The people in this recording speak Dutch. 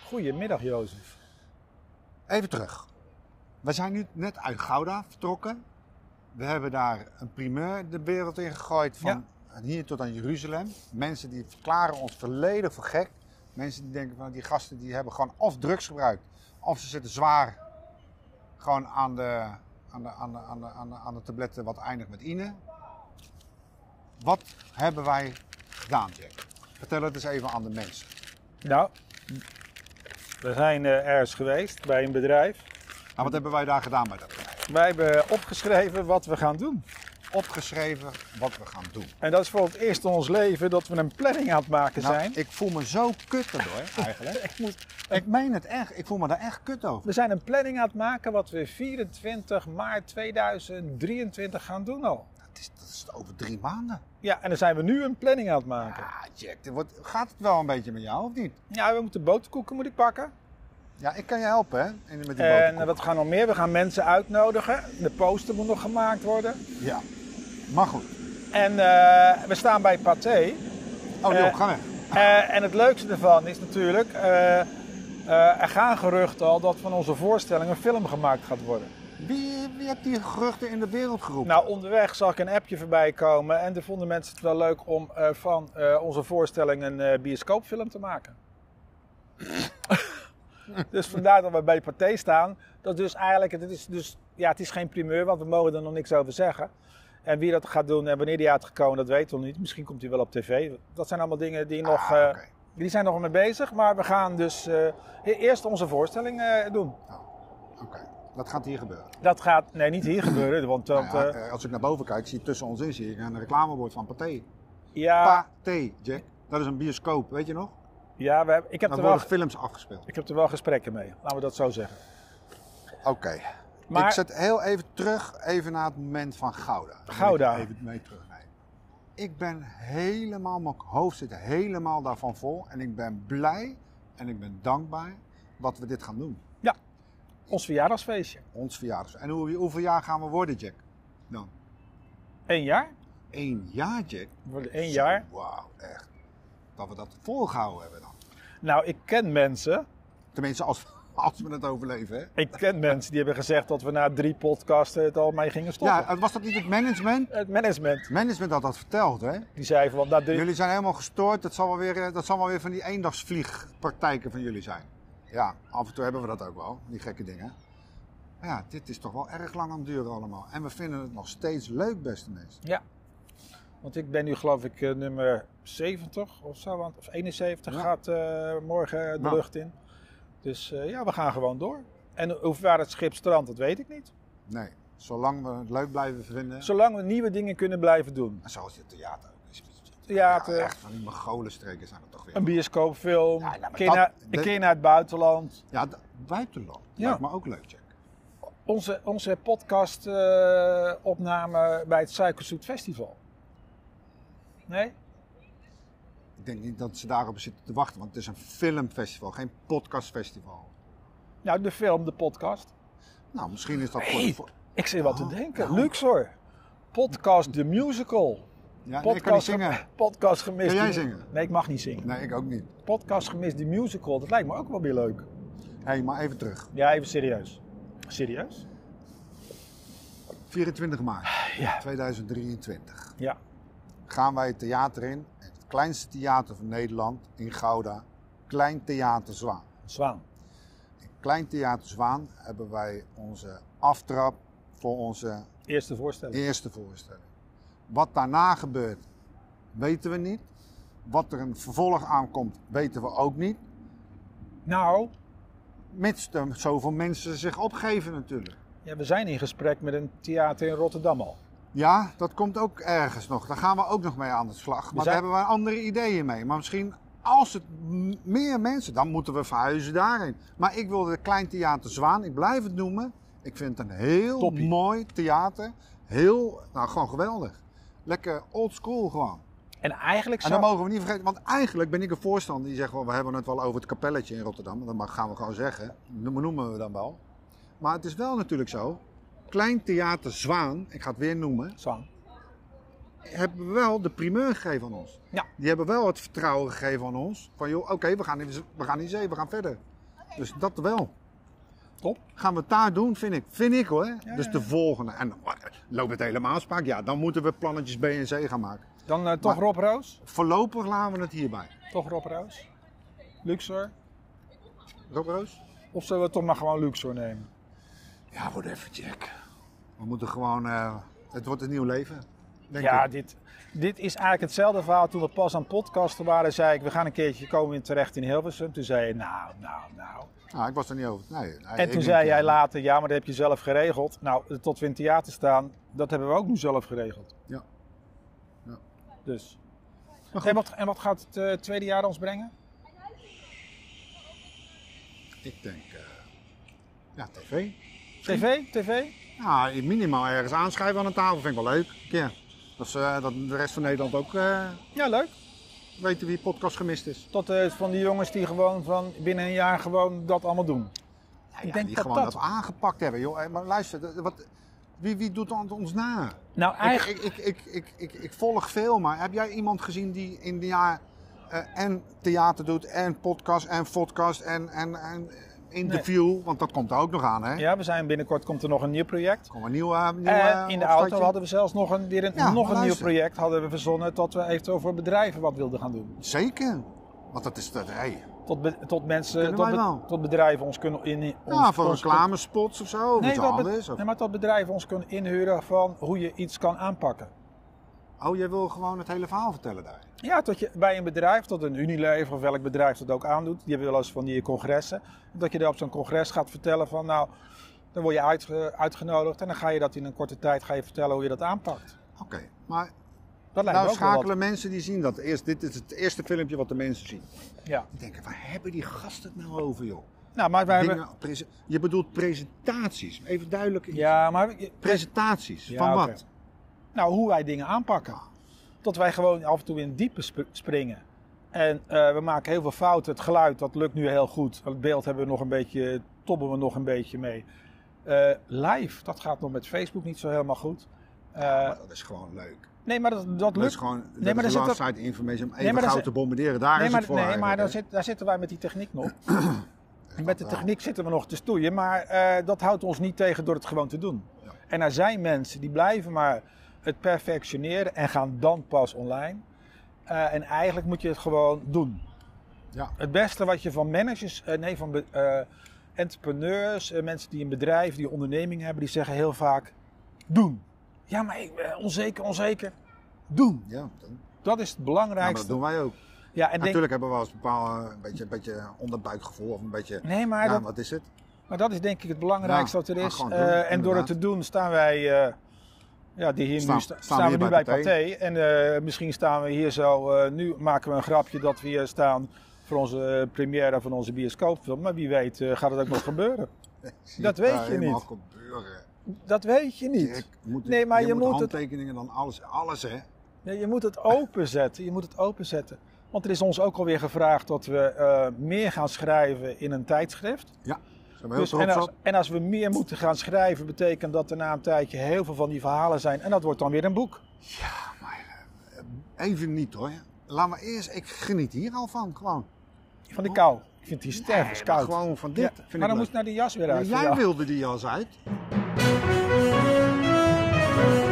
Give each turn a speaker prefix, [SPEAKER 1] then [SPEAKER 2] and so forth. [SPEAKER 1] Goedemiddag, Jozef.
[SPEAKER 2] Even terug. We zijn nu net uit Gouda vertrokken. We hebben daar een primeur de wereld in gegooid van hier tot aan Jeruzalem. Mensen die verklaren ons volledig voor gek. Mensen die denken van die gasten die hebben gewoon of drugs gebruikt of ze zitten zwaar gewoon aan de, aan de, aan de, aan de, aan de, aan de tabletten wat eindigt met ine. Wat hebben wij gedaan, Jack? Vertel het eens even aan de mensen.
[SPEAKER 1] Nou, we zijn eh, ergens geweest bij een bedrijf.
[SPEAKER 2] Nou, wat hebben wij daar gedaan bij dat bedrijf?
[SPEAKER 1] Wij hebben opgeschreven wat we gaan doen.
[SPEAKER 2] Opgeschreven wat we gaan doen.
[SPEAKER 1] En dat is voor het eerst in ons leven dat we een planning aan het maken
[SPEAKER 2] Nou,
[SPEAKER 1] zijn.
[SPEAKER 2] ik voel me zo kut erdoor eigenlijk.
[SPEAKER 1] Ik moet-
[SPEAKER 2] ik meen het echt. Ik voel me daar echt kut over.
[SPEAKER 1] We zijn een planning aan het maken wat we 24 maart 2023 gaan doen al.
[SPEAKER 2] Dat is, dat is over drie maanden.
[SPEAKER 1] Ja, en dan zijn we nu een planning aan het maken.
[SPEAKER 2] Ja, Jack, dit wordt- gaat het wel een beetje met jou of niet?
[SPEAKER 1] Ja, we moeten boterkoeken moet ik pakken.
[SPEAKER 2] Ja, ik kan je helpen, hè? in- Met die
[SPEAKER 1] En eh,
[SPEAKER 2] boterkoek.
[SPEAKER 1] wat gaan we nog meer? We gaan mensen uitnodigen. De poster moet nog gemaakt worden.
[SPEAKER 2] Ja, maar goed.
[SPEAKER 1] En eh, we staan bij Pathé.
[SPEAKER 2] Oh,
[SPEAKER 1] Eh,
[SPEAKER 2] Joop, ga weg.
[SPEAKER 1] Eh, en het leukste ervan is natuurlijk, eh, eh, er gaan geruchten al dat van onze voorstelling een film gemaakt gaat worden.
[SPEAKER 2] Wie, wie heeft die geruchten in de wereld geroepen?
[SPEAKER 1] Nou, onderweg zag ik een appje voorbij komen en er vonden mensen het wel leuk om eh, van eh, onze voorstelling een eh, bioscoopfilm te maken. dus vandaar dat we bij Pathé staan. Dat is dus eigenlijk, het is dus, ja, het is geen primeur, want we mogen er nog niks over zeggen. En wie dat gaat doen en wanneer die uit gaat komen, dat weten we nog niet. Misschien komt hij wel op tv. Dat zijn allemaal dingen die nog...
[SPEAKER 2] Ah,
[SPEAKER 1] eh,
[SPEAKER 2] oké.
[SPEAKER 1] Die zijn nog mee bezig, maar we gaan dus eh, e- eerst onze voorstelling eh, doen.
[SPEAKER 2] Oké, dat gaat hier gebeuren.
[SPEAKER 1] Dat gaat, nee, niet hier gebeuren, want dat,
[SPEAKER 2] Nou ja,
[SPEAKER 1] eh,
[SPEAKER 2] eh, als ik naar boven kijk, zie ik tussen ons in zie ik een reclamebord van Pathé.
[SPEAKER 1] ja,
[SPEAKER 2] Pathé, Jack. Dat is een bioscoop, weet je nog?
[SPEAKER 1] ja we hebben, ik, heb
[SPEAKER 2] Daar
[SPEAKER 1] er
[SPEAKER 2] worden
[SPEAKER 1] wel,
[SPEAKER 2] films afgespeeld.
[SPEAKER 1] ik heb er wel gesprekken mee, laten we dat zo zeggen.
[SPEAKER 2] Oké.
[SPEAKER 1] Maar-
[SPEAKER 2] Ik zet heel even terug, even naar het moment van Gouda. Daar wil ik
[SPEAKER 1] Gouda.
[SPEAKER 2] Even mee terugnemen. Ik ben helemaal, mijn hoofd zit helemaal daarvan vol. En ik ben blij en ik ben dankbaar dat we dit gaan doen.
[SPEAKER 1] Ja, ons verjaardagsfeestje.
[SPEAKER 2] Ons verjaardag. En hoe, hoeveel jaar gaan we worden, Jack? Dan?
[SPEAKER 1] Eén jaar?
[SPEAKER 2] Eén jaar, Jack?
[SPEAKER 1] We worden één jaar.
[SPEAKER 2] Wauw, echt. Dat we dat volgehouden hebben dan.
[SPEAKER 1] Nou, ik ken mensen,
[SPEAKER 2] Tenminste, als, als we het overleven, hè.
[SPEAKER 1] ik ken mensen die hebben gezegd dat we na drie podcasten het al mee gingen stoppen.
[SPEAKER 2] Ja, was dat niet het management?
[SPEAKER 1] Het management,
[SPEAKER 2] Management had dat verteld, hè?
[SPEAKER 1] die zei van, na drie...
[SPEAKER 2] Jullie zijn helemaal gestoord. Dat zal wel weer, eh, dat zal wel weer van die eendagsvliegpraktijken van jullie zijn. Ja, af en toe hebben we dat ook wel, die gekke dingen. Maar Ja, dit is toch wel erg lang aan het duren allemaal. En we vinden het nog steeds leuk, beste mensen.
[SPEAKER 1] Ja. Want ik ben nu geloof ik eh, nummer 70 of zo, want, of 71
[SPEAKER 2] Ja.
[SPEAKER 1] gaat eh, morgen de
[SPEAKER 2] Nou.
[SPEAKER 1] lucht in. Dus eh, ja, we gaan gewoon door. En hoe ver het schip strandt, dat weet ik niet.
[SPEAKER 2] Nee, zolang we het leuk blijven vinden.
[SPEAKER 1] Zolang we nieuwe dingen kunnen blijven doen.
[SPEAKER 2] En zoals het theater ook is.
[SPEAKER 1] Theater.
[SPEAKER 2] Ja, echt van die Mongolenstreken zijn er toch weer.
[SPEAKER 1] eh, Een bioscoopfilm,
[SPEAKER 2] Ja, nou, maar
[SPEAKER 1] een keer
[SPEAKER 2] dat-
[SPEAKER 1] naar-
[SPEAKER 2] dat-
[SPEAKER 1] een keer naar het buitenland.
[SPEAKER 2] Ja, d- buitenland.
[SPEAKER 1] Ja.
[SPEAKER 2] Lijkt me ook leuk, Jack.
[SPEAKER 1] Onze, onze podcastopname opname bij het Suikerzoet Festival. Nee?
[SPEAKER 2] Ik denk niet dat ze daarop zitten te wachten, want het is een filmfestival, geen podcastfestival.
[SPEAKER 1] Nou, de film, de podcast.
[SPEAKER 2] Nou, misschien is dat voor de
[SPEAKER 1] Hey,
[SPEAKER 2] vo-
[SPEAKER 1] ik zit wat te
[SPEAKER 2] Oh,
[SPEAKER 1] denken.
[SPEAKER 2] nou.
[SPEAKER 1] Luxor. Podcast The Musical.
[SPEAKER 2] Ja, nee, ik kan niet zingen.
[SPEAKER 1] podcast gemist.
[SPEAKER 2] Kan jij
[SPEAKER 1] die-
[SPEAKER 2] zingen?
[SPEAKER 1] Nee, ik mag niet zingen.
[SPEAKER 2] Nee, ik ook niet.
[SPEAKER 1] Podcast gemist, die musical, dat lijkt me ook wel weer leuk.
[SPEAKER 2] Hé, hey, maar even terug.
[SPEAKER 1] Ja, even serieus. Serieus?
[SPEAKER 2] 24 maart
[SPEAKER 1] Ja.
[SPEAKER 2] 2023
[SPEAKER 1] Ja.
[SPEAKER 2] gaan wij het theater in. Het kleinste theater van Nederland in Gouda. Klein Theater Zwaan.
[SPEAKER 1] Zwaan.
[SPEAKER 2] In Klein Theater Zwaan hebben wij onze aftrap voor onze
[SPEAKER 1] Eerste voorstelling.
[SPEAKER 2] eerste voorstelling. Wat daarna gebeurt, weten we niet. Wat er een vervolg aankomt, weten we ook niet.
[SPEAKER 1] Nou,
[SPEAKER 2] Mits er zoveel mensen zich opgeven natuurlijk.
[SPEAKER 1] ja, we zijn in gesprek met een theater in Rotterdam al.
[SPEAKER 2] Ja, dat komt ook ergens nog. Daar gaan we ook nog mee aan de slag. Maar
[SPEAKER 1] zijn-
[SPEAKER 2] daar hebben we andere ideeën mee. Maar misschien als het m- meer mensen, dan moeten we verhuizen daarin. Maar ik wilde het Klein Theater Zwaan, ik blijf het noemen. Ik vind het een heel
[SPEAKER 1] Toppie.
[SPEAKER 2] mooi theater. Heel, nou gewoon geweldig. Lekker old school gewoon.
[SPEAKER 1] En eigenlijk
[SPEAKER 2] En
[SPEAKER 1] zou...
[SPEAKER 2] dat mogen we niet vergeten, want eigenlijk ben ik een voorstander die zegt: wel, we hebben het wel over het kapelletje in Rotterdam. Dat mag- gaan we gewoon zeggen. Dat noemen we dan wel. Maar het is wel natuurlijk zo. Klein Theater Zwaan, ik ga het weer noemen
[SPEAKER 1] Zwaan.
[SPEAKER 2] hebben we wel de primeur gegeven aan ons.
[SPEAKER 1] Ja.
[SPEAKER 2] Die hebben wel het vertrouwen gegeven aan ons. Van joh, oké, we gaan in- we gaan in zee, we gaan verder. Dus dat wel.
[SPEAKER 1] Top.
[SPEAKER 2] Gaan we het daar doen, vind ik. Vind ik hoor.
[SPEAKER 1] ja,
[SPEAKER 2] dus de
[SPEAKER 1] ja.
[SPEAKER 2] volgende. En eh, loopt het helemaal spaak? Ja, dan moeten we plannetjes B en C gaan maken.
[SPEAKER 1] Dan eh, toch
[SPEAKER 2] Maar-
[SPEAKER 1] Rob Roos.
[SPEAKER 2] Voorlopig laten we het hierbij.
[SPEAKER 1] Toch Rob Roos. Luxor.
[SPEAKER 2] Rob Roos?
[SPEAKER 1] Of zullen we toch maar gewoon Luxor nemen?
[SPEAKER 2] Ja, whatever, Jack. We moeten gewoon... eh, het wordt een nieuw leven, denk
[SPEAKER 1] ja,
[SPEAKER 2] ik.
[SPEAKER 1] dit, dit is eigenlijk hetzelfde verhaal. Toen we pas aan het podcasten waren, zei ik... we gaan een keertje komen in terecht in Hilversum. Toen zei je, nou, nou, nou.
[SPEAKER 2] Nou, ik was er niet over. Nee, nee, ik
[SPEAKER 1] En toen
[SPEAKER 2] denk,
[SPEAKER 1] zei
[SPEAKER 2] eh,
[SPEAKER 1] jij later, ja, maar dat heb je zelf geregeld. Nou, tot we in het theater staan, dat hebben we ook nu zelf geregeld.
[SPEAKER 2] Ja. Ja.
[SPEAKER 1] Dus. En wat, en wat gaat het eh, tweede jaar ons brengen?
[SPEAKER 2] Ik denk... eh, ja, tv.
[SPEAKER 1] TV? TV?
[SPEAKER 2] Ja, minimaal ergens aanschuiven aan een tafel vind ik wel leuk. Een keer. Dat, ze, eh, dat de rest van Nederland ook eh,
[SPEAKER 1] Ja, leuk.
[SPEAKER 2] weten wie podcast gemist is.
[SPEAKER 1] Tot eh, van die jongens die gewoon van binnen een jaar gewoon dat allemaal doen.
[SPEAKER 2] Ja,
[SPEAKER 1] Ik
[SPEAKER 2] ja,
[SPEAKER 1] denk
[SPEAKER 2] die
[SPEAKER 1] dat
[SPEAKER 2] gewoon dat,
[SPEAKER 1] dat-
[SPEAKER 2] aangepakt hebben. Joh. Eh, Maar luister, dat- wat, wie, wie doet dan ons na? Ik-
[SPEAKER 1] Nou, eigenlijk...
[SPEAKER 2] Ik, ik, ik, ik, ik, ik volg veel, maar heb jij iemand gezien die in de jaar eh, en theater doet en podcast en podcast en, en, en interview? Want dat komt er ook nog aan, hè?
[SPEAKER 1] Ja, we zijn binnenkort komt er nog een nieuw project.
[SPEAKER 2] Kom een nieuw, eh, nieuw,
[SPEAKER 1] En
[SPEAKER 2] eh,
[SPEAKER 1] in de
[SPEAKER 2] opstartje.
[SPEAKER 1] auto hadden we zelfs nog een, weer een,
[SPEAKER 2] Ja, maar
[SPEAKER 1] nog een nieuw
[SPEAKER 2] Nou, luister.
[SPEAKER 1] project hadden we verzonnen tot we eventueel voor bedrijven wat wilden gaan doen.
[SPEAKER 2] Zeker. Want dat is dat. Hey.
[SPEAKER 1] Tot, be- tot mensen,
[SPEAKER 2] Kunnen
[SPEAKER 1] tot,
[SPEAKER 2] wij
[SPEAKER 1] be-
[SPEAKER 2] wel.
[SPEAKER 1] tot bedrijven ons kunnen in, in- ons,
[SPEAKER 2] Ja, voor
[SPEAKER 1] ons-
[SPEAKER 2] reclamespots of zo. of
[SPEAKER 1] Nee,
[SPEAKER 2] iets
[SPEAKER 1] tot be-
[SPEAKER 2] anders. of-
[SPEAKER 1] nee, maar tot bedrijven ons kunnen inhuren van hoe je iets kan aanpakken.
[SPEAKER 2] Oh, jij wil gewoon het hele verhaal vertellen daar.
[SPEAKER 1] Ja, tot je bij een bedrijf, tot een Unilever of welk bedrijf dat ook aandoet, die hebben wel eens van die congressen. Dat je daar op zo'n congres gaat vertellen van nou, dan word je uitge- uitgenodigd en dan ga je dat in een korte tijd ga je vertellen hoe je dat aanpakt.
[SPEAKER 2] Oké, maar nou
[SPEAKER 1] Dat lijkt me ook wel wat.
[SPEAKER 2] schakelen mensen die zien dat. Eerst, dit is het eerste filmpje wat de mensen zien.
[SPEAKER 1] Ja.
[SPEAKER 2] Die denken, waar hebben die gasten het nou over, joh?
[SPEAKER 1] Nou, maar wij hebben...
[SPEAKER 2] Dingen, prese- je bedoelt presentaties. Even duidelijk. iets.
[SPEAKER 1] Ja, maar je-
[SPEAKER 2] Presentaties,
[SPEAKER 1] Ja,
[SPEAKER 2] van
[SPEAKER 1] oké.
[SPEAKER 2] wat?
[SPEAKER 1] nou, hoe wij dingen aanpakken. Dat wij gewoon af en toe in het diepe sp- springen. En eh, we maken heel veel fouten. Het geluid, dat lukt nu heel goed. Het beeld hebben we nog een beetje, toppen we nog een beetje mee. Eh, live, dat gaat nog met Facebook niet zo helemaal goed. Eh,
[SPEAKER 2] Maar dat is gewoon leuk.
[SPEAKER 1] nee, maar dat, dat
[SPEAKER 2] Dat is
[SPEAKER 1] lukt.
[SPEAKER 2] gewoon dat is
[SPEAKER 1] maar er zit
[SPEAKER 2] last side information. Om even
[SPEAKER 1] maar er
[SPEAKER 2] gauw
[SPEAKER 1] zit-
[SPEAKER 2] te bombarderen, daar
[SPEAKER 1] Nee,
[SPEAKER 2] is
[SPEAKER 1] maar,
[SPEAKER 2] het voor
[SPEAKER 1] nee, maar dan
[SPEAKER 2] eigenlijk, hè?
[SPEAKER 1] zit, daar zitten wij met die techniek nog. En met de
[SPEAKER 2] wel.
[SPEAKER 1] techniek zitten we nog te stoeien, maar eh, dat houdt ons niet tegen door het gewoon te doen.
[SPEAKER 2] Ja.
[SPEAKER 1] En er zijn mensen die blijven maar het perfectioneren en gaan dan pas online. Eh, en eigenlijk moet je het gewoon doen.
[SPEAKER 2] Ja.
[SPEAKER 1] Het beste wat je van managers, eh, nee, van be- eh, entrepreneurs, eh, mensen die een bedrijf, die een onderneming hebben, die zeggen heel vaak: doen. Ja, maar ik ben onzeker, onzeker. Doen.
[SPEAKER 2] Ja, dan-
[SPEAKER 1] Dat is
[SPEAKER 2] ja,
[SPEAKER 1] het
[SPEAKER 2] maar
[SPEAKER 1] belangrijkste.
[SPEAKER 2] dat doen wij ook.
[SPEAKER 1] Ja, en denk,
[SPEAKER 2] Natuurlijk hebben we wel eens een bepaald eh, beetje, beetje onderbuikgevoel of een beetje...
[SPEAKER 1] nee, maar
[SPEAKER 2] ja,
[SPEAKER 1] dat,
[SPEAKER 2] wat is het?
[SPEAKER 1] Maar dat is denk ik het belangrijkste
[SPEAKER 2] Ja,
[SPEAKER 1] wat er
[SPEAKER 2] maar
[SPEAKER 1] is.
[SPEAKER 2] gewoon
[SPEAKER 1] Eh,
[SPEAKER 2] doen,
[SPEAKER 1] en door het
[SPEAKER 2] inderdaad.
[SPEAKER 1] te doen staan wij, eh, ja, die hier
[SPEAKER 2] Staan-
[SPEAKER 1] nu sta-
[SPEAKER 2] staan
[SPEAKER 1] staan,
[SPEAKER 2] we
[SPEAKER 1] we
[SPEAKER 2] hier
[SPEAKER 1] nu
[SPEAKER 2] bij
[SPEAKER 1] bij Pathé. En eh, misschien staan we hier zo, eh, nu maken we een grapje dat we hier staan voor onze eh, première van onze bioscoopfilm. Maar wie weet eh, gaat het ook nog gebeuren.
[SPEAKER 2] Ik zie
[SPEAKER 1] Dat
[SPEAKER 2] het
[SPEAKER 1] weet
[SPEAKER 2] daar
[SPEAKER 1] je
[SPEAKER 2] helemaal
[SPEAKER 1] niet.
[SPEAKER 2] gebeuren.
[SPEAKER 1] Dat weet je niet.
[SPEAKER 2] Ik moet,
[SPEAKER 1] Nee, maar je moet het-
[SPEAKER 2] handtekeningen dan alles, alles hè.
[SPEAKER 1] Nee, je moet het openzetten. Je moet het openzetten. Want er is ons ook alweer gevraagd dat we eh, meer gaan schrijven in een tijdschrift.
[SPEAKER 2] Zijn we heel
[SPEAKER 1] Dus,
[SPEAKER 2] trots
[SPEAKER 1] en, als,
[SPEAKER 2] op.
[SPEAKER 1] en als we meer moeten gaan schrijven, betekent dat er na een tijdje heel veel van die verhalen zijn. En dat wordt dan weer een boek.
[SPEAKER 2] Ja, maar eh, even niet hoor. Laat maar eerst, ik geniet hier al van, gewoon.
[SPEAKER 1] Van de kou. Ik vind die sterk
[SPEAKER 2] Oh. Nee, maar
[SPEAKER 1] koud.
[SPEAKER 2] Gewoon van
[SPEAKER 1] Ja,
[SPEAKER 2] dit. vind ik
[SPEAKER 1] maar dan
[SPEAKER 2] leuk.
[SPEAKER 1] moest naar die jas weer
[SPEAKER 2] Maar
[SPEAKER 1] uit.
[SPEAKER 2] Jij
[SPEAKER 1] Ja.
[SPEAKER 2] wilde die jas uit.